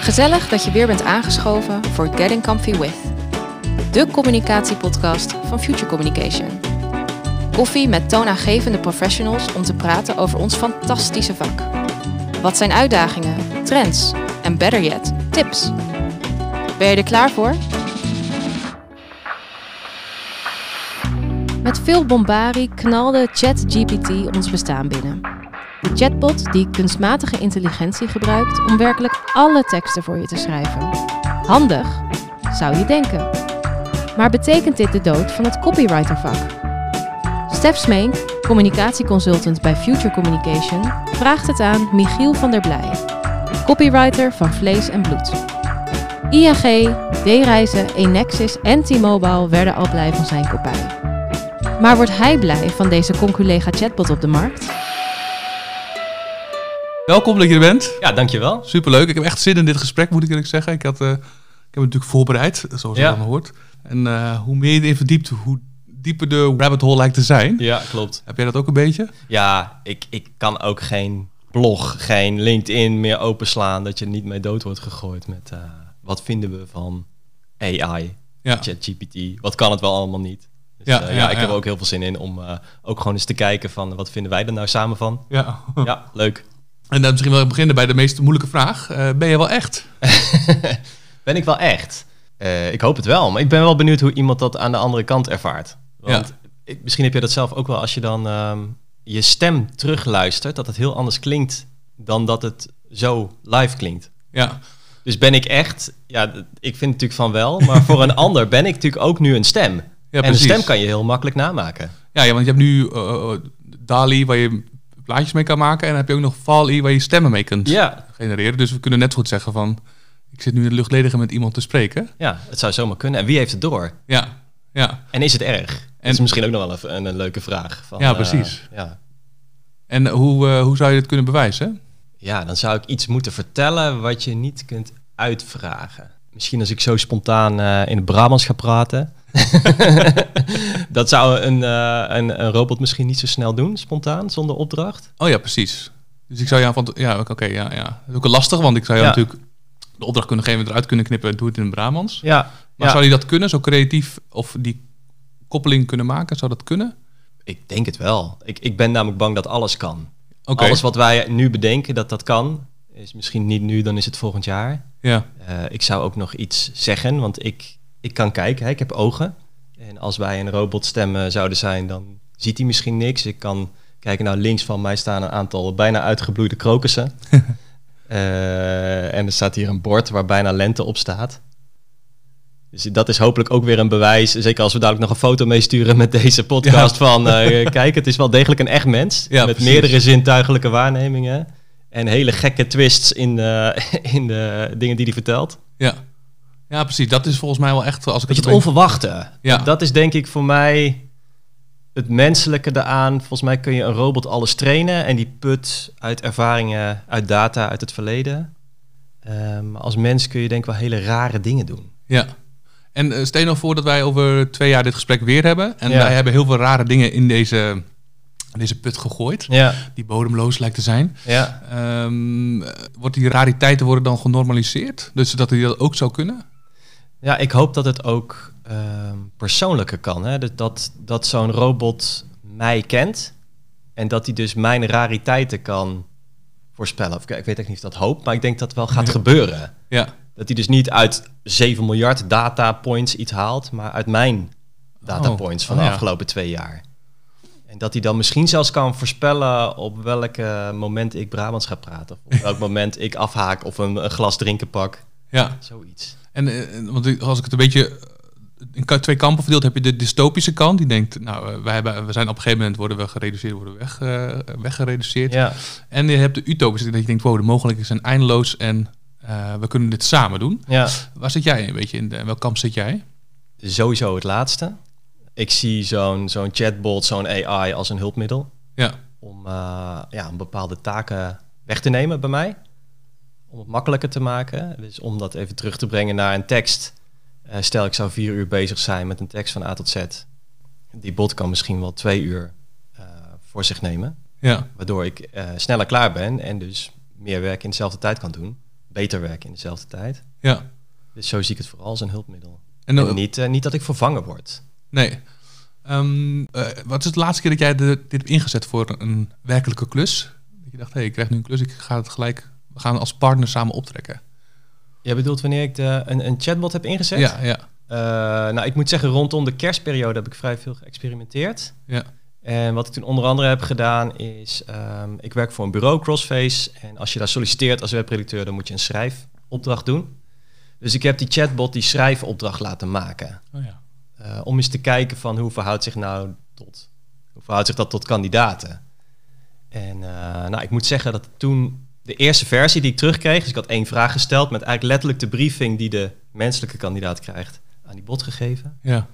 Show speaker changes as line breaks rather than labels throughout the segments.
Gezellig dat je weer bent aangeschoven voor Getting Comfy With, de communicatiepodcast van Future Communication. Koffie met toonaangevende professionals om te praten over ons fantastische vak. Wat zijn uitdagingen, trends en better yet, tips? Ben je er klaar voor? Met veel bombarie knalde ChatGPT ons bestaan binnen. De chatbot die kunstmatige intelligentie gebruikt om werkelijk alle teksten voor je te schrijven. Handig, zou je denken. Maar betekent dit de dood van het copywritervak? Stef Smeenk, communicatieconsultant bij Future Communication, vraagt het aan Michiel van der Blij, copywriter van Vlees en Bloed. IAG, D-Reizen, Enexis en T-Mobile werden al blij van zijn kopij. Maar wordt hij blij van deze conculega chatbot op de markt?
Welkom dat je er bent.
Ja, dankjewel.
Superleuk. Ik heb echt zin in dit gesprek, moet ik eerlijk zeggen. Ik, had, eh, ik heb het natuurlijk voorbereid, zoals je
Ja.
dan hoort. En eh, hoe meer je erin verdiept, hoe dieper de rabbit hole lijkt te zijn.
Ja, klopt.
Heb jij dat ook een beetje?
Ja, ik, ik kan ook geen blog, geen LinkedIn meer openslaan dat je er niet mee dood wordt gegooid met eh, wat vinden we van AI,
Ja.
ChatGPT, wat kan het wel allemaal niet. Dus,
Ja,
eh,
ja,
ja, ik heb
ja.
er ook heel veel zin in om eh, ook gewoon eens te kijken van wat vinden wij er nou samen van.
Ja.
Ja, leuk.
En dan misschien wel beginnen bij de meest moeilijke vraag. Eh, ben je wel echt?
Ben ik wel echt? Eh, ik hoop het wel, maar ik ben wel benieuwd hoe iemand dat aan de andere kant ervaart. Want ik- misschien heb je dat zelf ook wel als je dan ehm, je stem terugluistert, dat het heel anders klinkt dan dat het zo live klinkt.
Ja.
Dus ben ik echt, ja, d- ik vind natuurlijk van wel, maar voor een ander ben ik natuurlijk ook nu een stem. en een
precies.
stem kan je heel makkelijk namaken.
Ja, ja, want je hebt nu eh, eh, DALI waar je plaatjes mee kan maken. En dan heb je ook nog VALI waar je stemmen mee kunt
Ja,
genereren. Dus we kunnen net zo goed zeggen van... Ik zit nu in de luchtledige met iemand te spreken.
ja, het zou zomaar kunnen. En wie heeft het door?
Ja, ja.
En is het erg? En dat is misschien ook nog wel even een, een leuke vraag. Van,
Ja,
eh,
precies.
ja.
En hoe, eh, hoe zou je dit kunnen bewijzen?
ja, dan zou ik iets moeten vertellen wat je niet kunt uitvragen. Misschien als ik zo spontaan eh, in het Brabants ga praten. dat zou een, eh, een, een robot misschien niet zo snel doen, spontaan, zonder opdracht.
Oh ja, precies. Dus ik zou jou van... Ja, oké, ja, ja. Dat is ook lastig, want ik zou jou
Ja.
natuurlijk de opdracht kunnen geven... eruit kunnen knippen, doe het in het Brabants.
Ja,
Maar zou die dat kunnen, zo creatief, of die koppeling kunnen maken? Zou dat kunnen?
Ik denk het wel. Ik, ik ben namelijk bang dat alles kan.
Oké,
Alles wat wij nu bedenken dat dat kan, is misschien niet nu, dan is het volgend jaar.
ja.
Eh, ik zou ook nog iets zeggen, want ik, ik kan kijken, hè, ik heb ogen. En als wij een robotstem eh, zouden zijn, dan ziet hij misschien niks. Ik kan kijken, nou links van mij staan een aantal bijna uitgebloeide krokussen. Eh, en er staat hier een bord waar bijna lente op staat. Dus dat is hopelijk ook weer een bewijs. Zeker als we dadelijk nog een foto meesturen met deze podcast. Van eh, kijk, het is wel degelijk een echt mens.
Ja,
met
precies.
meerdere zintuigelijke waarnemingen. En hele gekke twists in, eh, in de dingen die hij vertelt.
ja. Ja, precies. Dat is volgens mij wel echt... Als ik
Weet je, het
erbij-
onverwachte.
Ja.
Dat is denk ik voor mij het menselijke daaraan. Volgens mij kun je een robot alles trainen. En die put uit ervaringen, uit data, uit het verleden. Ehm, als mens kun je denk ik wel hele rare dingen doen.
Ja. En eh, stel je nou voor dat wij over twee jaar dit gesprek weer hebben. En
Ja.
wij hebben heel veel rare dingen in deze, in deze put gegooid.
Ja,
Die bodemloos lijkt te zijn.
ja.
Ehm, eh, wordt die rariteiten worden dan genormaliseerd? Dus dat die dat ook zou kunnen?
Ja, ik hoop dat het ook ehm, persoonlijker kan. Hè? Dat, dat, dat zo'n robot mij kent en dat hij dus mijn rariteiten kan voorspellen. Of, ik ik weet echt niet of dat hoop, maar ik denk dat het wel gaat gebeuren.
Ja,
Dat hij dus niet uit 7 miljard data points iets haalt, maar uit mijn data
Oh,
points van
oh
de
ja.
afgelopen twee jaar. En dat hij dan misschien zelfs kan voorspellen op welk eh, moment ik Brabants ga praten. Of op welk moment ik afhaak of een, een glas drinken pak.
ja.
Zoiets.
En eh, want ik- als ik het een beetje eh, in ka- twee kampen verdeeld, heb je de dystopische kant. Die denkt, nou, eh, wij hebben, we zijn op een gegeven moment worden we gereduceerd, worden we weg, eh, weggereduceerd.
Ja.
En je hebt de utopische, dat je denkt, wow, de mogelijkheden zijn eindeloos en eh, we kunnen dit samen doen.
ja.
Waar zit jij een beetje in? De, in welk kamp zit jij?
sowieso het laatste. Ik zie zo'n zo'n chatbot, zo'n AI als een hulpmiddel
Ja,
om, eh, ja, om bepaalde taken weg te nemen bij mij. Om het makkelijker te maken. Dus om dat even terug te brengen naar een tekst. Eh, stel, ik zou vier uur bezig zijn met een tekst van A tot Z. Die bot kan misschien wel twee uur eh, voor zich nemen.
ja,
Waardoor ik eh, sneller klaar ben en dus meer werk in dezelfde tijd kan doen. beter werken in dezelfde tijd.
Ja.
Dus zo zie ik het vooral als een hulpmiddel.
En dan,
En niet, eh, niet dat ik vervangen word.
Nee. Ehm, eh, wat is het laatste keer dat jij de- dit hebt ingezet voor een werkelijke klus? Dat je dacht, hé, hey, ik krijg nu een klus, ik ga het gelijk, we gaan als partner samen optrekken.
Jij bedoelt wanneer ik de, een, een chatbot heb ingezet?
Ja, ja,
Eh, nou, ik moet zeggen, rondom de kerstperiode heb ik vrij veel geëxperimenteerd.
ja.
En wat ik toen onder andere heb gedaan is, ehm, ik werk voor een bureau, Crossface. En als je daar solliciteert als webredacteur, dan moet je een schrijfopdracht doen. Dus ik heb die chatbot die schrijfopdracht laten maken.
Oh, ja.
Eh, om eens te kijken van hoe verhoudt zich nou tot, hoe verhoudt zich dat tot kandidaten. En eh, nou, ik moet zeggen dat toen de eerste versie die ik terugkreeg, dus ik had één vraag gesteld met eigenlijk letterlijk de briefing die de menselijke kandidaat krijgt aan die bot gegeven.
ja.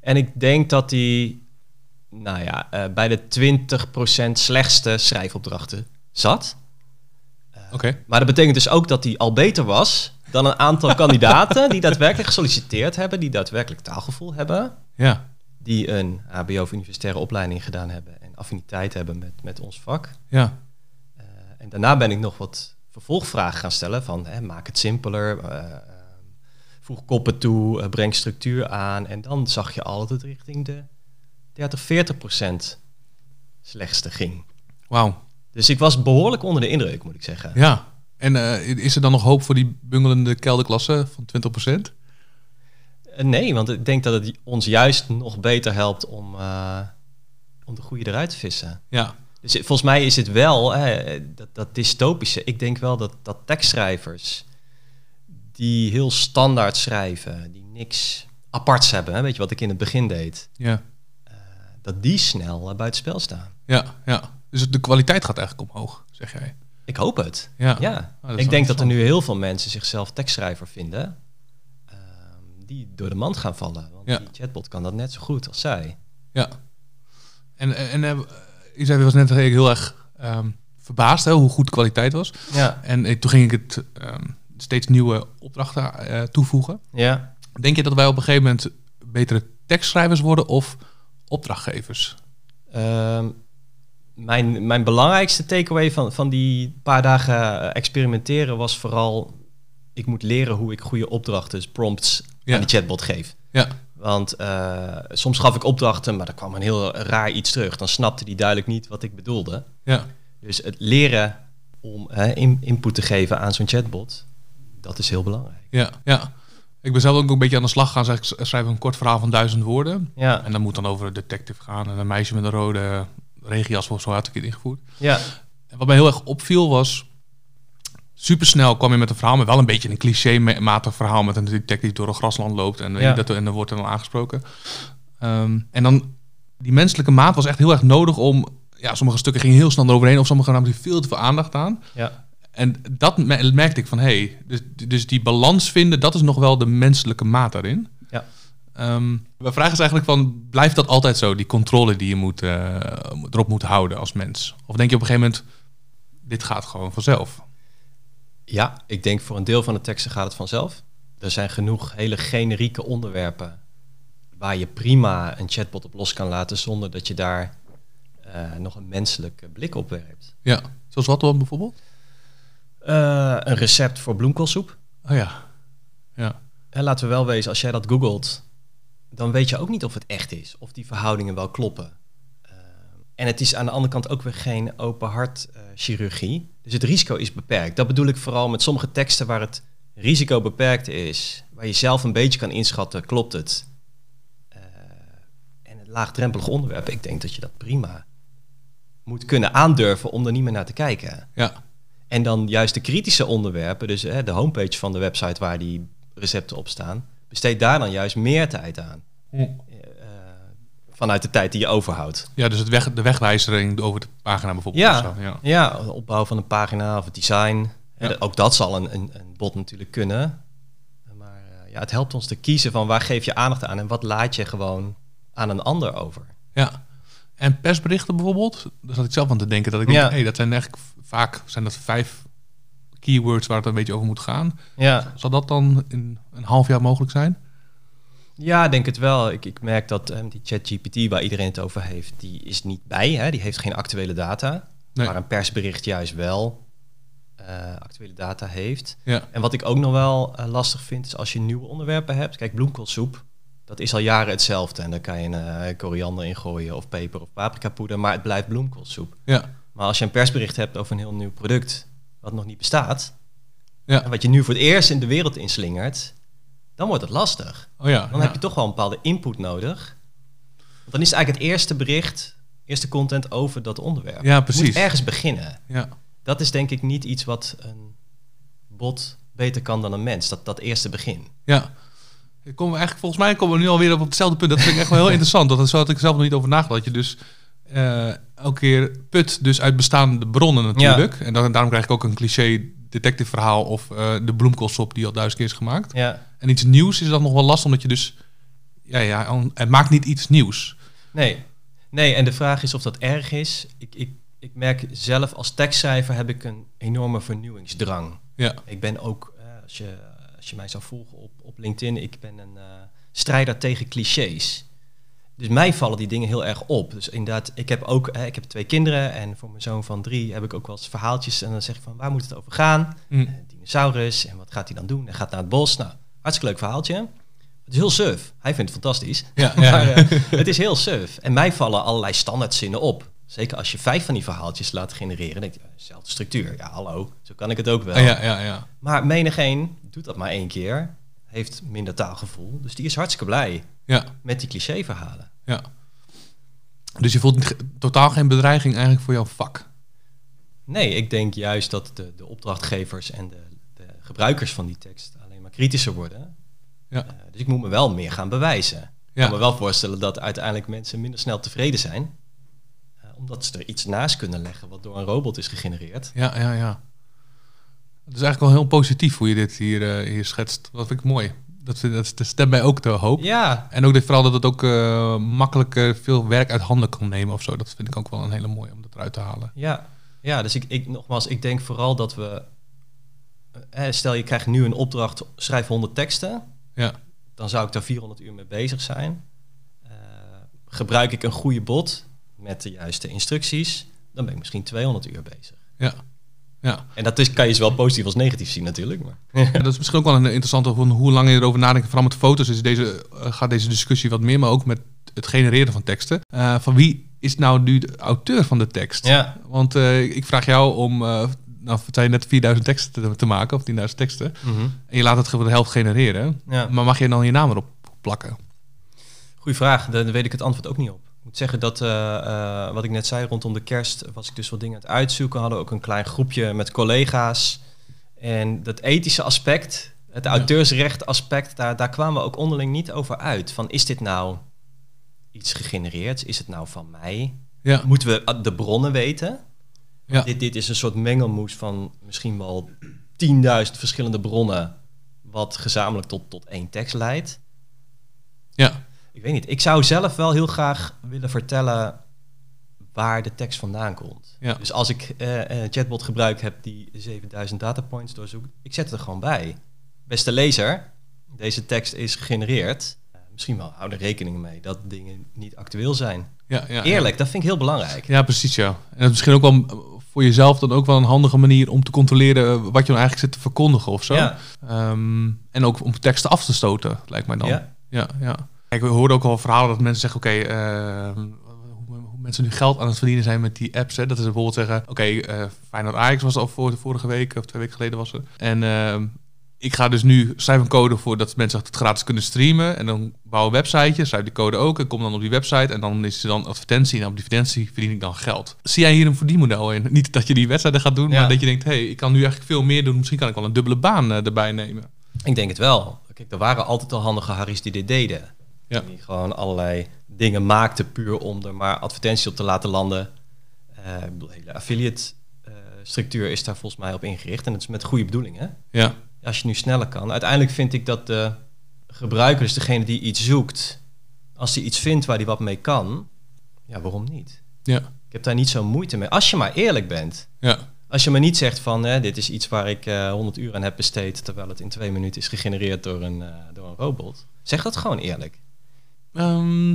En ik denk dat die, nou ja, eh, bij de 20% slechtste schrijfopdrachten zat.
Oké.
Maar dat betekent dus ook dat die al beter was dan een aantal kandidaten die daadwerkelijk gesolliciteerd hebben, die daadwerkelijk taalgevoel hebben
Ja,
die een HBO of universitaire opleiding gedaan hebben en affiniteit hebben met, met ons vak.
ja,
Eh, en daarna ben ik nog wat vervolgvragen gaan stellen van hè, maak het simpeler, eh, eh, voeg koppen toe, eh, breng structuur aan. En dan zag je al dat het richting de 30, 40 procent slechtste ging.
wauw.
Dus ik was behoorlijk onder de indruk, moet ik zeggen.
Ja. En eh, is er dan nog hoop voor die bungelende kelderklasse van 20%?
Eh, nee, want ik denk dat het ons juist nog beter helpt om, eh, om de goede eruit te vissen.
Ja,
Dus het- volgens mij is het wel hè, dat, dat dystopische. Ik denk wel dat, dat tekstschrijvers die heel standaard schrijven, die niks aparts hebben, hè, weet je wat ik in het begin deed,
ja,
dat die snel eh, buiten buitenspel staan.
ja, ja. Dus de kwaliteit gaat eigenlijk omhoog, zeg jij.
Ik hoop het.
Ja, Oh,
Ja,
dat is
ik
wel
denk dat er nu heel veel mensen zichzelf tekstschrijver vinden, ehm, die door de mand gaan vallen. Want
Ja.
die chatbot kan dat net zo goed als zij.
Ja. En, en eh, je zei, je was net eh, heel erg ehm, verbaasd hè, hoe goed de kwaliteit was.
Ja,
En eh, toen ging ik het ehm, steeds nieuwe opdrachten eh, toevoegen.
ja.
Denk je dat wij op een gegeven moment betere tekstschrijvers worden of opdrachtgevers?
Ehm, mijn, mijn belangrijkste takeaway van, van die paar dagen eh, experimenteren was vooral... ik moet leren hoe ik goede opdrachten, dus prompts,
Ja.
aan de chatbot geef.
Ja,
Want eh, soms gaf ik opdrachten, maar er kwam een heel raar iets terug. Dan snapte die duidelijk niet wat ik bedoelde.
ja,
Dus het leren om hè, in- input te geven aan zo'n chatbot, dat is heel belangrijk.
ja, ja. Ik ben zelf ook een beetje aan de slag gaan. Zeg, ik schrijf een kort verhaal van duizend woorden.
Ja,
En dat moet dan over een detective gaan en een meisje met een rode regenjas of zo had ik het ingevoerd.
ja,
En wat mij heel erg opviel was... Supersnel kwam je met een verhaal, maar wel een beetje een cliché-matig verhaal... met een detective die door een grasland loopt en, weet
Ja.
je dat, en dan wordt er dan aangesproken. Ehm, en dan, die menselijke maat was echt heel erg nodig om... Ja, sommige stukken gingen heel snel eroverheen of sommige namen er veel te veel aandacht aan.
ja,
En dat me- merkte ik van, hé, hey, dus, dus die balans vinden, dat is nog wel de menselijke maat daarin.
Ja.
Ehm, mijn vraag is eigenlijk van, blijft dat altijd zo, die controle die je moet, eh, erop moet houden als mens? Of denk je op een gegeven moment, dit gaat gewoon vanzelf?
ja. Ik denk voor een deel van de teksten gaat het vanzelf. Er zijn genoeg hele generieke onderwerpen waar je prima een chatbot op los kan laten zonder dat je daar eh, nog een menselijke blik op werpt.
Ja, zoals wat dan bijvoorbeeld?
Eh, een recept voor bloemkoolsoep.
Oh ja, ja,
En laten we wel wezen, als jij dat googelt, dan weet je ook niet of het echt is. Of die verhoudingen wel kloppen. Eh, en het is aan de andere kant ook weer geen open hart eh, chirurgie. Dus het risico is beperkt. Dat bedoel ik vooral met sommige teksten waar het risico beperkt is. Waar je zelf een beetje kan inschatten, klopt het? Eh, en het laagdrempelige onderwerp, ik denk dat je dat prima moet kunnen aandurven om er niet meer naar te kijken.
ja,
En dan juist de kritische onderwerpen, dus hè, de homepage van de website waar die recepten op staan, besteed daar dan juist meer tijd aan.
Hm.
Eh, eh, vanuit de tijd die je overhoudt.
ja dus het weg, de wegwijzering over de pagina bijvoorbeeld.
Ja.
of zo, ja.
Ja, de opbouw van een pagina of het design.
Ja.
Eh, Ook dat zal een, een, een bot natuurlijk kunnen. Maar eh, ja, het helpt ons te kiezen van waar geef je aandacht aan en wat laat je gewoon aan een ander over.
Ja. En persberichten bijvoorbeeld, daar zat ik zelf aan te denken dat ik
Ja.
denk, hey, dat zijn eigenlijk v- vaak zijn dat vijf keywords waar het een beetje over moet gaan.
Ja.
Zal dat dan in een half jaar mogelijk zijn?
Ja, ik denk het wel. Ik, ik merk dat ehm, die ChatGPT waar iedereen het over heeft, die is niet bij. Hè? Die heeft geen actuele data.
Nee.
Maar een persbericht juist wel. eh, actuele data heeft.
Ja.
En wat ik ook nog wel eh, lastig vind, is als je nieuwe onderwerpen hebt. Kijk, bloemkoolsoep, dat is al jaren hetzelfde. En daar kan je eh koriander in gooien of peper of paprikapoeder, maar het blijft bloemkoolsoep.
Ja.
Maar als je een persbericht hebt over een heel nieuw product, wat nog niet bestaat,
Ja.
en wat je nu voor het eerst in de wereld inslingert, dan wordt het lastig.
Oh ja.
Dan
ja.
heb je toch wel een bepaalde input nodig. Want dan is het eigenlijk het eerste bericht, eerste content over dat onderwerp.
Ja,
Je moet
precies.
ergens beginnen.
Ja.
Dat is denk ik niet iets wat een bot beter kan dan een mens. Dat, dat eerste begin.
Ja. Ik kom eigenlijk, volgens mij komen we nu alweer op hetzelfde punt. Dat vind ik echt wel heel interessant. Dat, zo had ik zelf nog niet over nagedacht. Dat je dus eh, elke keer put dus uit bestaande bronnen natuurlijk. En dan, daarom krijg ik ook een cliché detective verhaal of eh, de bloemkoolsop die al duizend keer is gemaakt.
Ja.
En iets nieuws is dan nog wel lastig, omdat je dus... Ja, ja, on- het maakt niet iets nieuws.
Nee. nee, en de vraag is of dat erg is. Ik, ik, ik merk zelf als tekstschrijver heb ik een enorme vernieuwingsdrang.
Ja,
Ik ben ook, eh, als, je, als je mij zou volgen op, op LinkedIn, ik ben een eh, strijder tegen clichés. Dus mij vallen die dingen heel erg op. Dus inderdaad, ik heb ook, eh, ik heb twee kinderen en voor mijn zoon van drie heb ik ook wel eens verhaaltjes. En dan zeg ik van, waar moet het over gaan?
Mm.
Eh, dinosaurus en wat gaat hij dan doen? Hij gaat naar het bos. Nou, hartstikke leuk verhaaltje. Het is heel surf. Hij vindt het fantastisch.
ja,
Maar,
ja,
eh, het is heel surf. En mij vallen allerlei standaardzinnen op. Zeker als je vijf van die verhaaltjes laat genereren. denk je, eh, zelfde structuur. Ja, hallo. Zo kan ik het ook wel.
Oh ja, ja, ja, ja.
Maar menigeen doet dat maar één keer, heeft minder taalgevoel. Dus die is hartstikke blij
ja,
met die clichéverhalen.
ja. Dus je voelt ge- totaal geen bedreiging eigenlijk voor jouw vak.
Nee, ik denk juist dat de, de opdrachtgevers en de, de gebruikers van die tekst alleen maar kritischer worden.
Ja.
Eh, dus ik moet me wel meer gaan bewijzen. Ik
Ja.
kan me wel voorstellen dat uiteindelijk mensen minder snel tevreden zijn. eh, omdat ze er iets naast kunnen leggen wat door een robot is gegenereerd.
Ja, ja, ja. Het is eigenlijk wel heel positief hoe je dit hier, eh, hier schetst. Dat vind ik mooi. Dat, vind, dat, dat stemt mij ook de hoop.
Ja,
En ook dit, vooral dat het ook eh, makkelijk eh, veel werk uit handen kan nemen of zo. Dat vind ik ook wel een hele mooie om dat eruit te halen.
Ja, ja dus ik, ik, nogmaals, ik denk vooral dat we... eh, stel, je krijgt nu een opdracht, schrijf 100 teksten.
Ja.
Dan zou ik daar 400 uur mee bezig zijn. Eh, gebruik ik een goede bot met de juiste instructies... dan ben ik misschien 200 uur bezig.
Ja. Ja.
En dat is, kan je zowel positief als negatief zien natuurlijk. Maar.
En dat is misschien ook wel een interessante van hoe lang je erover nadenkt. Vooral met foto's is deze, eh, gaat deze discussie wat meer, maar ook met het genereren van teksten. Eh, van wie is nou nu de auteur van de tekst?
Ja,
Want eh, ik vraag jou om, eh nou, het zijn net 4000 teksten te, te maken, of 10.000 teksten. En je laat het gewoon de helft genereren.
Mhm. ja.
Maar mag je dan je naam erop plakken?
Goeie vraag, daar weet ik het antwoord ook niet op. Ik moet zeggen dat, eh, eh, wat ik net zei, rondom de kerst was ik dus wat dingen aan het uitzoeken. Hadden we ook een klein groepje met collega's. En dat ethische aspect, het
Ja.
auteursrecht aspect, daar, daar kwamen we ook onderling niet over uit. Van is dit nou iets gegenereerd? Is het nou van mij?
Ja,
Moeten we eh, de bronnen weten?
Ja.
Dit, dit is een soort mengelmoes van misschien wel 10.000 verschillende bronnen, wat gezamenlijk tot, tot één tekst leidt.
ja,
Ik weet niet. Ik zou zelf wel heel graag willen vertellen waar de tekst vandaan komt.
Ja.
Dus als ik eh, een chatbot gebruik heb die 7000 datapoints doorzoekt, ik zet het er gewoon bij. Beste lezer, deze tekst is gegenereerd. Eh, misschien wel hou er rekening mee dat dingen niet actueel zijn.
ja, ja.
Eerlijk, dat vind ik heel belangrijk.
Ja, precies, ja. En dat is misschien ook wel eh, voor jezelf dan ook wel een handige manier om te controleren eh, wat je dan eigenlijk zit te verkondigen of zo.
Ja.
Ehm, en ook om teksten af te stoten, lijkt mij dan.
Ja.
ja. ja. Kijk, we hoorden ook al verhalen dat mensen zeggen, oké, ehm, hoe, hoe mensen nu geld aan het verdienen zijn met die apps. Hè? Dat is bijvoorbeeld zeggen, oké, eh Feyenoord Ajax was al voor de vorige week of twee weken geleden was het. En ehm, ik ga dus nu schrijf een code voor dat mensen het gratis kunnen streamen. En dan bouw een websiteje, schrijf die code ook en kom dan op die website. En dan is er dan advertentie en op die advertentie verdien ik dan geld. Zie jij hier een verdienmodel in? Niet dat je die wedstrijden gaat doen,
Ja.
maar dat je denkt, hé, hey, ik kan nu eigenlijk veel meer doen. Misschien kan ik wel een dubbele baan eh, erbij nemen.
Ik denk het wel. Kijk, er waren altijd al handige Harry's die dit deden.
Ja.
Die gewoon allerlei dingen maakten puur om er maar advertenties op te laten landen. Eh, ik bedoel, de hele affiliate eh, structuur is daar volgens mij op ingericht. En dat is met goede bedoelingen.
Ja,
Als je nu sneller kan. Uiteindelijk vind ik dat de gebruiker, dus degene die iets zoekt, als hij iets vindt waar hij wat mee kan, ja, waarom niet?
Ja.
Ik heb daar niet zo'n moeite mee. Als je maar eerlijk bent.
ja,
Als je me niet zegt van hè, dit is iets waar ik eh 100 uur aan heb besteed, terwijl het in twee minuten is gegenereerd door een, eh, door een robot. Zeg dat gewoon eerlijk.
Ehm,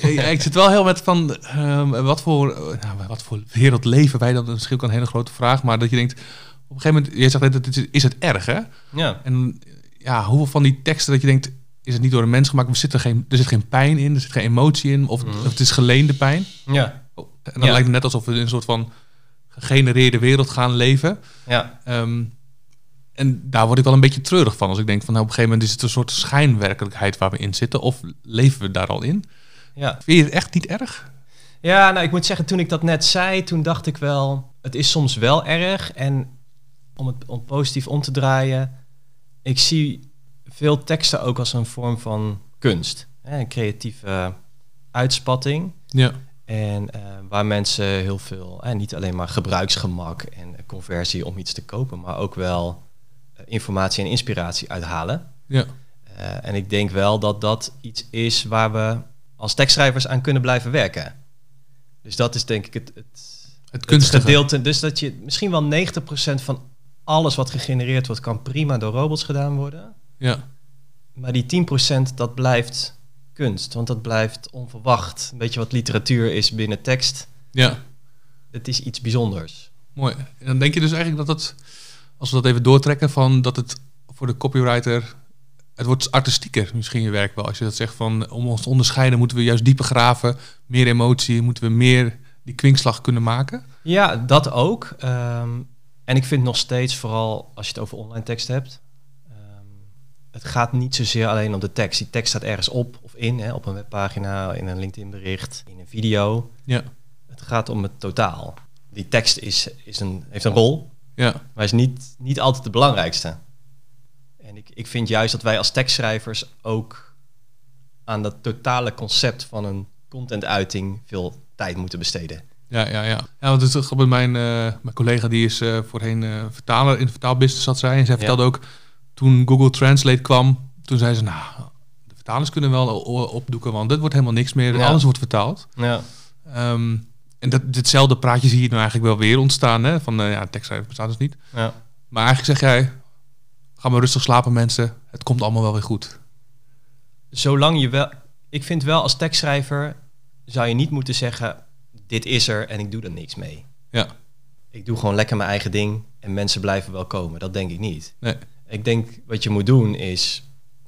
ja, ik zit wel heel met van ehm, wat, voor, eh, nou, wat voor wereld leven wij? Dat is misschien ook een hele grote vraag. Maar dat je denkt, op een gegeven moment, je zegt net, het is, is het erg hè?
Ja.
En ja, hoeveel van die teksten dat je denkt, is het niet door een mens gemaakt? Er zit, er geen, er zit geen pijn in, er zit geen emotie in, of,
Mhm.
of het is geleende pijn.
Ja.
Oh, En dan
Ja.
lijkt het net alsof we in een soort van gegenereerde wereld gaan leven.
Ja.
Ehm, en daar word ik wel een beetje treurig van. Als ik denk van nou, op een gegeven moment is het een soort schijnwerkelijkheid waar we in zitten. Of leven we daar al in?
ja.
Vind je het echt niet erg?
Ja, nou ik moet zeggen, toen ik dat net zei, toen dacht ik wel, het is soms wel erg. En om het om positief om te draaien, ik zie veel teksten ook als een vorm van kunst. Hè, een creatieve uitspatting.
Ja.
En eh, waar mensen heel veel, eh, niet alleen maar gebruiksgemak en conversie om iets te kopen, maar ook wel eh, informatie en inspiratie uithalen.
Ja.
Eh, en ik denk wel dat dat iets is waar we als tekstschrijvers aan kunnen blijven werken. Dus dat is denk ik het, het,
Het
het
kunstige.
gedeelte. Dus dat je misschien wel 90% van alles wat gegenereerd wordt, kan prima door robots gedaan worden.
Ja.
Maar die 10% dat blijft kunst, want dat blijft onverwacht. Een beetje wat literatuur is binnen tekst.
ja,
Het is iets bijzonders.
mooi. En dan denk je dus eigenlijk dat dat, als we dat even doortrekken, van dat het voor de copywriter, het wordt artistieker misschien je werk wel. Als je dat zegt van om ons te onderscheiden moeten we juist dieper graven, meer emotie, moeten we meer die kwinkslag kunnen maken.
Ja, dat ook. Ehm, en ik vind nog steeds, vooral als je het over online tekst hebt, ehm, het gaat niet zozeer alleen om de tekst. Die tekst staat ergens op of in, hè, op een webpagina, in een LinkedIn-bericht, in een video.
Ja.
Het gaat om het totaal. Die tekst is, is een, heeft een rol,
Ja.
maar is niet, niet altijd de belangrijkste. En ik, ik vind juist dat wij als tekstschrijvers ook aan dat totale concept van een contentuiting veel tijd moeten besteden.
Ja, ja, ja. Ja, want het is grappig, mijn, eh, mijn collega die is eh, voorheen eh, vertaler in de vertaalbusiness zat zij. En zij
Ja.
vertelde ook, toen Google Translate kwam, toen zei ze, nou, de vertalers kunnen wel o- opdoeken, want dit wordt helemaal niks meer. en
Ja.
Alles wordt vertaald.
Ja,
Ehm, en dat, ditzelfde praatje zie je nou eigenlijk wel weer ontstaan, hè? van eh, ja, tekstschrijven bestaat dus niet.
ja.
Maar eigenlijk zeg jij, ga maar rustig slapen mensen, het komt allemaal wel weer goed.
zolang je wel. Ik vind wel als tekstschrijver zou je niet moeten zeggen: dit is er en ik doe er niks mee.
Ja.
Ik doe gewoon lekker mijn eigen ding en mensen blijven wel komen. Dat denk ik niet.
Nee.
Ik denk wat je moet doen is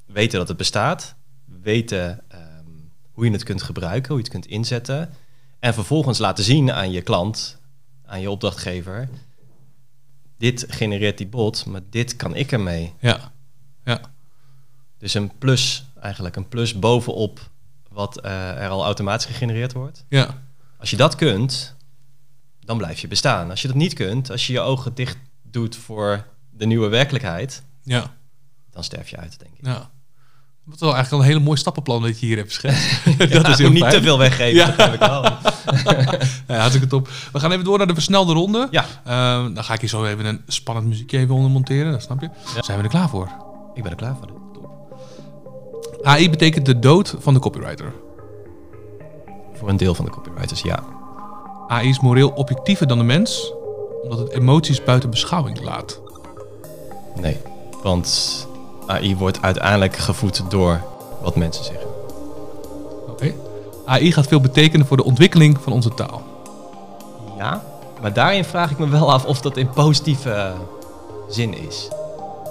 weten dat het bestaat, weten ehm, hoe je het kunt gebruiken, hoe je het kunt inzetten en vervolgens laten zien aan je klant, aan je opdrachtgever. Dit genereert die bot, maar dit kan ik ermee.
Ja,
Dus een plus, eigenlijk een plus bovenop wat eh, er al automatisch gegenereerd wordt.
ja,
Als je dat kunt, dan blijf je bestaan. Als je dat niet kunt, als je je ogen dicht doet voor de nieuwe werkelijkheid,
ja,
dan sterf je uit, denk ik.
ja. Dat is wel eigenlijk al een hele mooi stappenplan dat je hier hebt geschetst. dat
Ja,
is heel
niet
fijn.
te veel weggeven.
Ja.
dat heb ik wel.
Ja, hartstikke top. We gaan even door naar de versnelde ronde.
Ja.
Ehm, dan ga ik hier zo even een spannend muziekje even onder monteren, dat snap je.
Ja.
Zijn we er klaar voor?
ik ben er klaar voor. dit.
AI betekent de dood van de copywriter.
Voor een deel van de copywriters, ja.
AI is moreel objectiever dan de mens, omdat het emoties buiten beschouwing laat.
Nee, want AI wordt uiteindelijk gevoed door wat mensen zeggen.
Oké. AI gaat veel betekenen voor de ontwikkeling van onze taal.
Ja, maar daarin vraag ik me wel af of dat in positieve eh, zin is.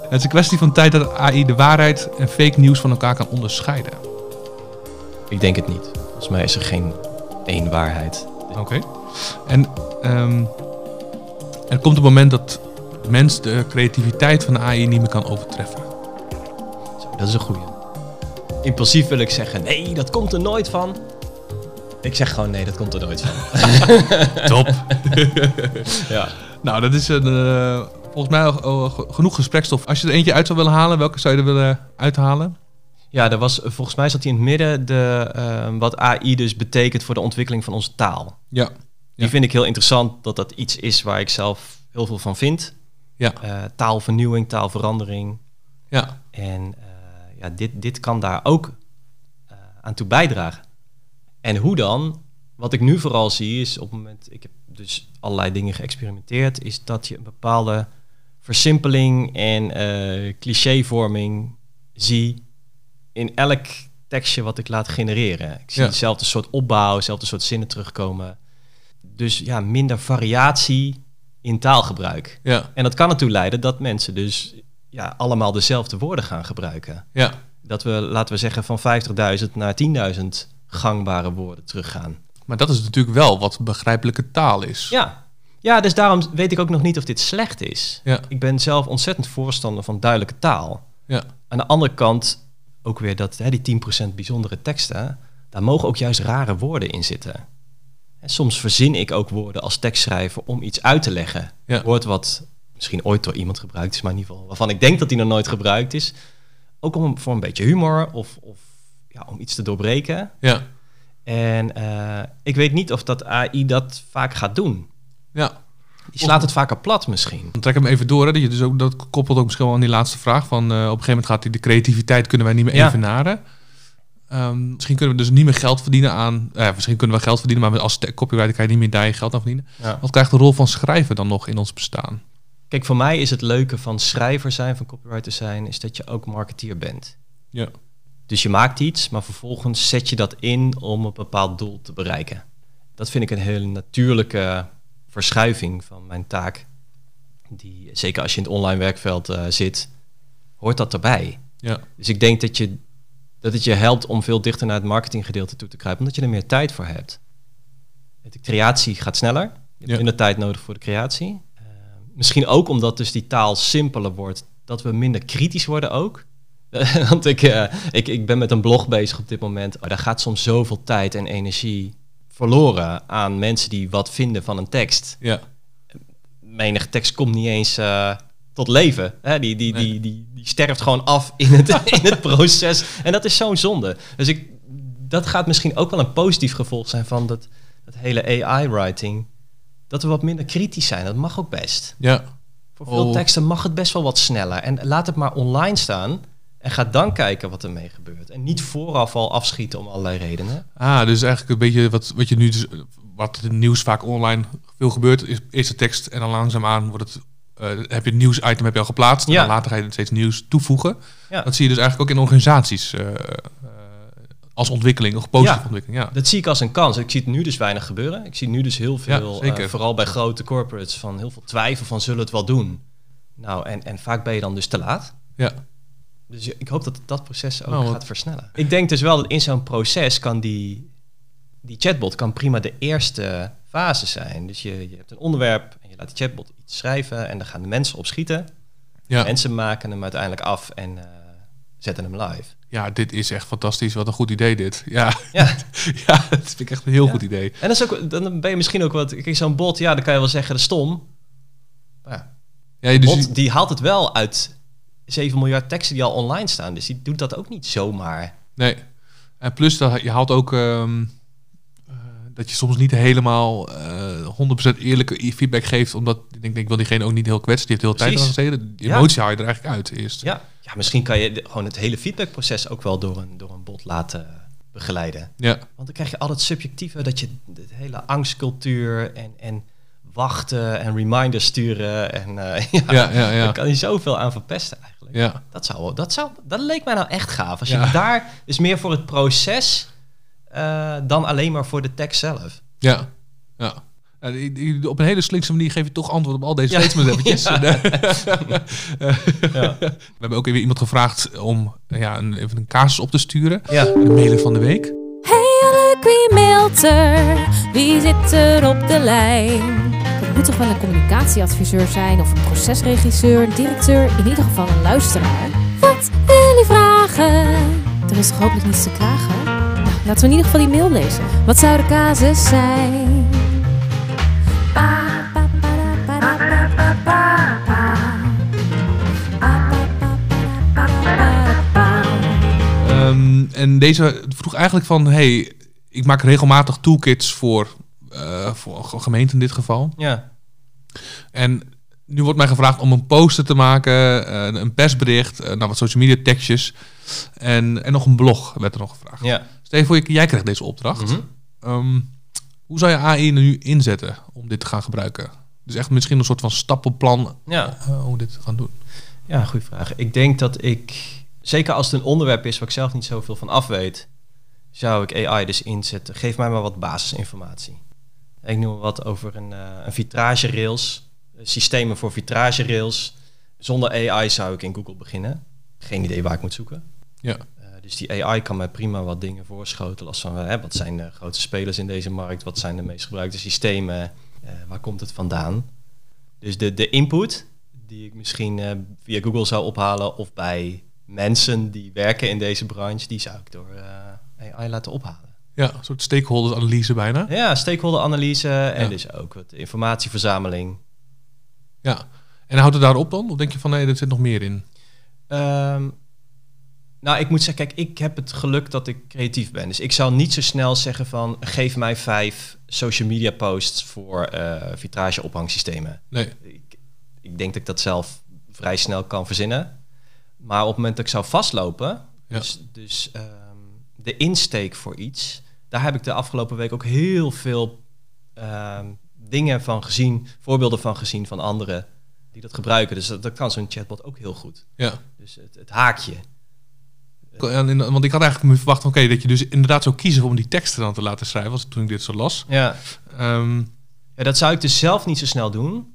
Het is een kwestie van tijd dat AI de waarheid en fake nieuws van elkaar kan onderscheiden.
Ik denk het niet. Volgens mij is er geen één waarheid.
Oké. En ehm, er komt een moment dat de mens de creativiteit van de AI niet meer kan overtreffen.
Zo, dat is een goeie. Impulsief wil ik zeggen, nee, dat komt er nooit van. Ik zeg gewoon, nee, dat komt er nooit van.
Top.
ja.
Nou, dat is een, eh, volgens mij al- al ge- genoeg gesprekstof. Als je er eentje uit zou willen halen, welke zou je er willen uithalen?
ja, er was, volgens mij zat hij in het midden de, ehm, wat AI dus betekent voor de ontwikkeling van onze taal.
Ja.
Die
Ja.
vind ik heel interessant, dat dat iets is waar ik zelf heel veel van vind.
Ja.
Eh, taalvernieuwing, taalverandering.
Ja.
En eh, ja, dit, dit kan daar ook eh, aan toe bijdragen. En hoe dan? Wat ik nu vooral zie is op het moment, ik heb dus allerlei dingen geëxperimenteerd, is dat je een bepaalde versimpeling en eh clichévorming zie in elk tekstje wat ik laat genereren. Ik zie
Ja.
hetzelfde soort opbouw, hetzelfde soort zinnen terugkomen. Dus ja, minder variatie in taalgebruik.
Ja,
En dat kan ertoe leiden dat mensen dus ja, allemaal dezelfde woorden gaan gebruiken.
ja.
Dat we, laten we zeggen, van 50.000 naar 10.000 gangbare woorden teruggaan.
Maar dat is natuurlijk wel wat begrijpelijke taal is.
Ja. ja, dus daarom weet ik ook nog niet of dit slecht is.
Ja.
Ik ben zelf ontzettend voorstander van duidelijke taal.
Ja.
Aan de andere kant ook weer dat hè, die 10% bijzondere teksten, daar mogen ook juist rare woorden in zitten. En soms verzin ik ook woorden als tekstschrijver om iets uit te leggen.
Ja.
Een woord wat misschien ooit door iemand gebruikt is, maar in ieder geval waarvan ik denk dat die nog nooit gebruikt is. Ook om, voor een beetje humor of, of ja, om iets te doorbreken.
Ja.
En eh, ik weet niet of dat AI dat vaak gaat doen.
ja.
Die slaat het vaker plat misschien.
Dan trek ik hem even door. Hè, dat, je dus ook, dat koppelt ook misschien wel aan die laatste vraag. Van, eh, op een gegeven moment gaat die, de creativiteit kunnen wij niet meer
Ja.
evenaren. Ehm, misschien kunnen we dus niet meer geld verdienen aan... eh, misschien kunnen we geld verdienen, maar als te- copywriter kan je niet meer daar je geld aan verdienen.
Ja.
Wat krijgt de rol van schrijven dan nog in ons bestaan?
Kijk, voor mij is het leuke van schrijver zijn, van copywriter zijn, is dat je ook marketeer bent.
Ja.
Dus je maakt iets, maar vervolgens zet je dat in om een bepaald doel te bereiken. Dat vind ik een hele natuurlijke verschuiving van mijn taak. Die, zeker als je in het online werkveld eh, zit, hoort dat erbij.
Ja.
Dus ik denk dat, je, dat het je helpt om veel dichter naar het marketinggedeelte toe te kruipen, omdat je er meer tijd voor hebt. De creatie gaat sneller. Je hebt
Ja.
minder tijd nodig voor de creatie. Eh, misschien ook omdat dus die taal simpeler wordt, dat we minder kritisch worden ook. Want ik, eh, ik, ik ben met een blog bezig op dit moment. Oh, daar gaat soms zoveel tijd en energie verloren aan mensen die wat vinden van een tekst
Ja.
menig tekst komt niet eens eh, tot leven. Hè? Die, die,
Nee.
die, die, die sterft gewoon af in het, in het proces. En dat is zo'n zonde. Dus ik, dat gaat misschien ook wel een positief gevolg zijn van dat, dat hele AI-writing. Dat we wat minder kritisch zijn. Dat mag ook best.
Ja.
Voor veel
Oh.
teksten mag het best wel wat sneller. En laat het maar online staan. En ga dan kijken wat ermee gebeurt. En niet vooraf al afschieten om allerlei redenen.
Ah, dus eigenlijk een beetje wat, wat je nu... Dus, wat het nieuws vaak online veel gebeurt, is eerst de tekst en dan langzaamaan wordt het... eh, heb je het nieuwsitem heb je al geplaatst
Ja.
en dan later ga je steeds nieuws toevoegen.
Ja.
Dat zie je dus eigenlijk ook in organisaties eh, eh, als ontwikkeling, een positieve
Ja.
ontwikkeling. Ja.
Dat zie ik als een kans. Ik zie het nu dus weinig gebeuren. Ik zie nu dus heel veel,
Ja, zeker.
eh, vooral bij grote corporates, van heel veel twijfel van zullen we het wel doen. Nou, en, en vaak ben je dan dus te laat.
Ja.
Dus je- ik hoop dat dat proces ook
Nou, wat-
gaat versnellen. Ik denk dus wel dat in zo'n proces kan die, die chatbot kan prima de eerste fase zijn. Dus je, je hebt een onderwerp en je laat de chatbot iets schrijven en dan gaan de mensen op schieten.
Ja.
Mensen maken hem uiteindelijk af en eh, zetten hem live.
ja, dit is echt fantastisch. Wat een goed idee dit. Ja,
Ja.
ja dat vind ik echt een heel
Ja.
goed idee.
En dat is ook, dan ben je misschien ook wat... Kijk, zo'n bot, ja, dan kan je wel zeggen, dat is stom. Maar ja,
Ja, dus
bot, die haalt het wel uit 7 miljard teksten die al online staan. Dus die doet dat ook niet zomaar.
Nee. En plus, dat, je haalt ook ehm, eh, dat je soms niet helemaal eh 100% eerlijke i- feedback geeft. Omdat ik denk, ik wil diegene ook niet heel kwetsen. Die heeft heel veel tijd aan
Precies.
gezeten. Die
Ja.
emotie haal je er eigenlijk uit eerst.
Ja, ja misschien kan je de- gewoon het hele feedbackproces ook wel door een, door een bot laten begeleiden.
Ja.
Want dan krijg je al het subjectieve, dat je de hele angstcultuur en, en wachten en reminders sturen. En eh, ja,
Ja, ja, ja.
daar kan je zoveel aan verpesten eigenlijk.
Ja.
Dat, zou, wel- dat, zou, dat leek mij nou echt gaaf. Als je
Ja.
daar is meer voor het proces eh, dan alleen maar voor de tekst zelf.
Ja. ja. Ja, die- die- op een hele slinkse manier geef je toch antwoord op al deze
Ja.
statements eventjes.
Ja.
Eh, We hebben ook weer iemand gevraagd om eh, ja, een, even een casus op te sturen.
Ja.
De mailer van de week.
Hey Luc, wie mailt er? Wie zit er op de lijn?
Het moet toch wel een communicatieadviseur zijn of een procesregisseur, een directeur, in ieder geval een luisteraar.
Wat wil je vragen?
Er is toch hopelijk niets te klagen? Nou, laten we in ieder geval die mail lezen. Wat zou de casus zijn?
Ehm, en deze vroeg eigenlijk van, hey, ik maak regelmatig toolkits voor, eh voor ge- gemeenten in dit geval.
Ja.
En nu wordt mij gevraagd om een poster te maken, eh, een persbericht, eh, nou wat social media tekstjes. En, en nog een blog werd er nog gevraagd.
ja.
Stel je voor, je- jij krijgt deze opdracht.
Mhm.
Ehm, hoe zou je AI nu inzetten om dit te gaan gebruiken? Dus echt misschien een soort van stappenplan
Ja.
eh, hoe we dit gaan doen.
Ja, goede vraag. Ik denk dat ik, zeker als het een onderwerp is waar ik zelf niet zoveel van af weet, zou ik AI dus inzetten. Geef mij maar wat basisinformatie. Ik noem wat over een, eh een vitrage rails. systemen voor vitragerails. Zonder AI zou ik in Google beginnen. Geen idee waar ik moet zoeken.
Ja.
Eh, dus die AI kan mij prima wat dingen voorschotelen. Als van, hè, wat zijn de grote spelers in deze markt? Wat zijn de meest gebruikte systemen? Eh, waar komt het vandaan? Dus de, de input die ik misschien eh, via Google zou ophalen... of bij mensen die werken in deze branche... die zou ik door eh, AI laten ophalen.
Ja, een soort stakeholders-analyse bijna.
Ja, stakeholderanalyse en
Ja.
dus ook wat informatieverzameling.
Ja. En houdt het daarop dan? Of denk je van nee, er zit nog meer in?
Ehm, nou, ik moet zeggen, kijk, ik heb het geluk dat ik creatief ben. Dus ik zou niet zo snel zeggen van... geef mij vijf social media posts voor eh vitrage ophangsystemen.
Nee.
Ik, ik denk dat ik dat zelf vrij snel kan verzinnen. Maar op het moment dat ik zou vastlopen...
Ja.
dus, dus ehm, de insteek voor iets... daar heb ik de afgelopen week ook heel veel ehm, dingen van gezien... voorbeelden van gezien van anderen die dat gebruiken. Dus dat, dat kan zo'n chatbot ook heel goed.
Ja.
Dus het, het haakje.
En in- want ik had eigenlijk verwacht oké, dat je dus inderdaad zou kiezen om die teksten dan te laten schrijven, als toen ik dit zo las.
Ja.
Ehm,
ja, dat zou ik dus zelf niet zo snel doen.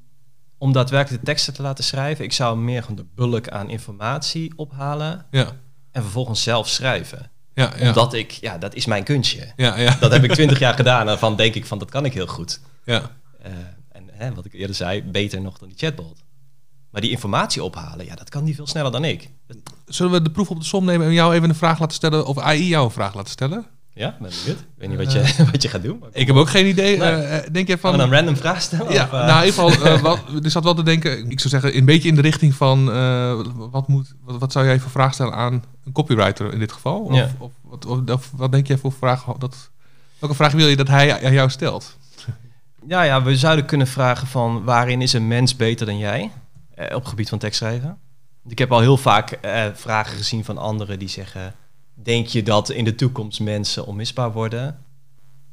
Om daadwerkelijk de teksten te laten schrijven. Ik zou meer gewoon de bulk aan informatie ophalen.
ja.
En vervolgens zelf schrijven.
Ja, ja.
Omdat ik, ja, dat is mijn kunstje.
ja, ja.
Dat heb ik twintig jaar gedaan. En van denk ik van, dat kan ik heel goed.
ja.
Eh, en hè, wat ik eerder zei, beter nog dan die chatbot. Maar die informatie ophalen, ja, dat kan die veel sneller dan ik.
Zullen we de proef op de som nemen en jou even een vraag laten stellen, of AI jou een vraag laten stellen?
Ja, ben benieuwd. Ik weet niet wat je, wat je gaat doen. Maar
Eh, Ik heb ook geen idee.
Nee.
Eh, eh, denk jij
Gaan
van...
we een random vraag stellen?
Ja,
Of, eh,
nou in ieder geval, eh, wat, ik zat wel te denken, ik zou zeggen, een beetje in de richting van, eh, wat, moet, wat, wat zou jij voor vraag stellen aan een copywriter in dit geval? Of,
Ja.
of, wat, of- of wat denk jij voor vraag, dat, welke vraag wil je dat hij aan jou stelt?
Ja, ja, we zouden kunnen vragen van waarin is een mens beter dan jij eh, op gebied van tekstschrijven? Want Ik heb al heel vaak eh, vragen gezien van anderen die zeggen: Denk je dat in de toekomst mensen onmisbaar worden?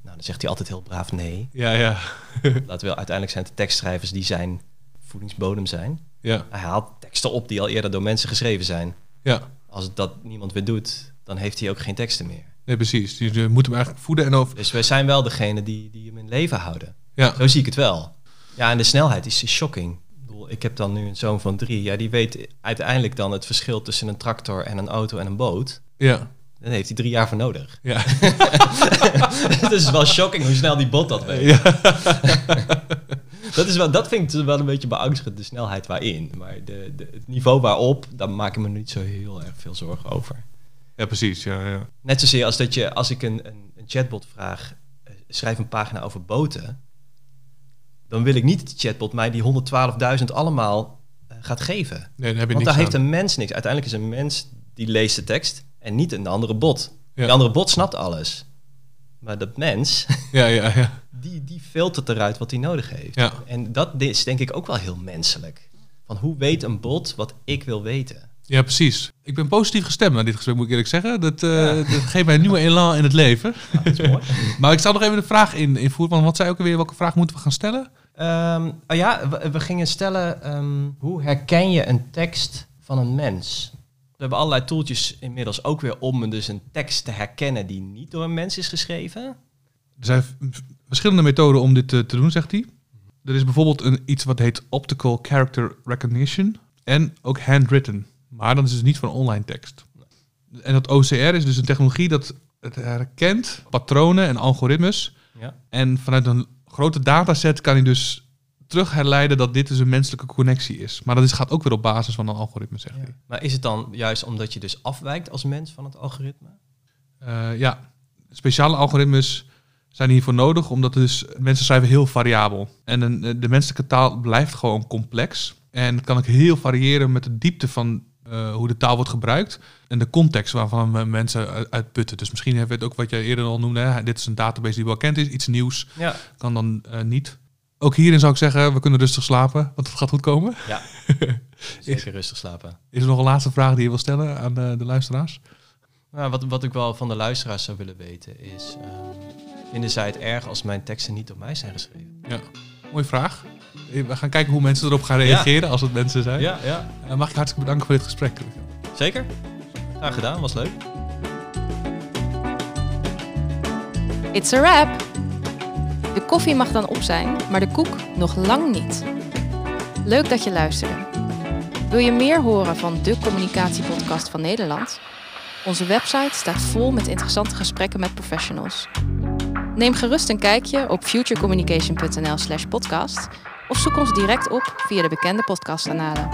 Nou, dan zegt hij altijd heel braaf nee.
Ja, ja,
Laten we uiteindelijk zijn het tekstschrijvers die zijn voedingsbodem zijn.
ja,
Hij haalt teksten op die al eerder door mensen geschreven zijn.
ja.
Als dat niemand weer doet, dan heeft hij ook geen teksten meer.
Nee, precies. Dus je moet hem eigenlijk voeden en over...
Dus wij zijn wel degene die, die hem in leven houden.
Ja,
Zo zie ik het wel. Ja, en de snelheid is is shocking. Ik bedoel, Ik heb dan nu een zoon van drie. Ja, die weet uiteindelijk dan het verschil tussen een tractor en een auto en een boot.
ja,
Dan heeft hij drie jaar voor nodig.
ja.
Het is wel shocking hoe snel die bot dat weet. dat, is wel, dat vind ik dus wel een beetje beangstigend, de snelheid waarin. Maar de, de, het niveau waarop, daar maak ik me niet zo heel erg veel zorgen over.
Ja, precies. Ja, ja.
Net zozeer als dat je, als ik een, een, een chatbot vraag, eh, schrijf een pagina over boten. Dan wil ik niet dat de chatbot mij die 112.000 allemaal eh, gaat geven.
Nee, dan heb je
Want
niks
daar heeft
aan.
een mens niks. Uiteindelijk is een mens die leest de tekst en niet een andere bot.
Ja.
Die andere bot snapt alles. Maar dat mens,
Ja, ja, ja.
die, die filtert eruit wat hij nodig heeft.
Ja.
En dat is denk ik ook wel heel menselijk. Van hoe weet een bot wat ik wil weten?
Ja, precies. Ik ben positief gestemd aan dit gesprek, moet ik eerlijk zeggen. Dat, eh, dat geeft mij een nieuwe elan in het leven.
Nou, dat is mooi.
Maar ik zal nog even de vraag in, invoeren, want wat zei ook alweer, welke vraag moeten we gaan stellen?
Ehm, oh ja, we, we gingen stellen, ehm, hoe herken je een tekst van een mens? We hebben allerlei toeltjes inmiddels ook weer om dus een tekst te herkennen die niet door een mens is geschreven.
Er zijn v- verschillende methoden om dit eh, te doen, zegt hij. Er is bijvoorbeeld een, iets wat heet optical character recognition en ook handwritten. Maar dan is het dus niet van online tekst. En dat OCR is dus een technologie dat het herkent patronen en algoritmes.
Ja.
En vanuit een grote dataset kan hij dus terug herleiden dat dit dus een menselijke connectie is. Maar dat is, gaat ook weer op basis van een algoritme, zegt hij.
Maar is het dan juist omdat je dus afwijkt als mens van het algoritme?
Eh, ja, speciale algoritmes zijn hiervoor nodig, omdat dus mensen schrijven heel variabel. En een, eh, de menselijke taal blijft gewoon complex. En het kan ook heel variëren met de diepte van eh, hoe de taal wordt gebruikt en de context waarvan we mensen uit- uitputten. Dus misschien hebben we het ook wat jij eerder al noemde. Hè? Dit is een database die wel kent is, iets nieuws
Ja.
kan dan eh, niet. Ook hierin zou ik zeggen, we kunnen rustig slapen, want het gaat goed komen.
Ja. Zeker rustig slapen.
Is er nog een laatste vraag die je wil stellen aan eh, de, de luisteraars?
Nou, wat, wat ik wel van de luisteraars zou willen weten is... ehm, vinden zij het erg als mijn teksten niet door mij zijn geschreven?
Ja, mooie vraag. Eh, We gaan kijken hoe mensen erop gaan reageren als het mensen zijn.
Ja, ja.
Eh, mag ik hartstikke bedanken voor dit gesprek.
Zeker. Graag gedaan, was leuk.
It's a wrap! De koffie mag dan op zijn, maar de koek nog lang niet. Leuk dat je luisterde. Wil je meer horen van de communicatiepodcast van Nederland? Onze website staat vol met interessante gesprekken met professionals. Neem gerust een kijkje op futurecommunication.nl/slash podcast of zoek ons direct op via de bekende podcastkanalen.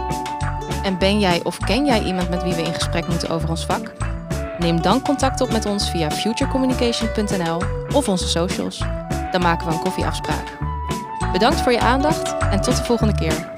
En ben jij of ken jij iemand met wie we in gesprek moeten over ons vak? Neem dan contact op met ons via futurecommunication.nl of onze socials. Dan maken we een koffieafspraak. Bedankt voor je aandacht en tot de volgende keer.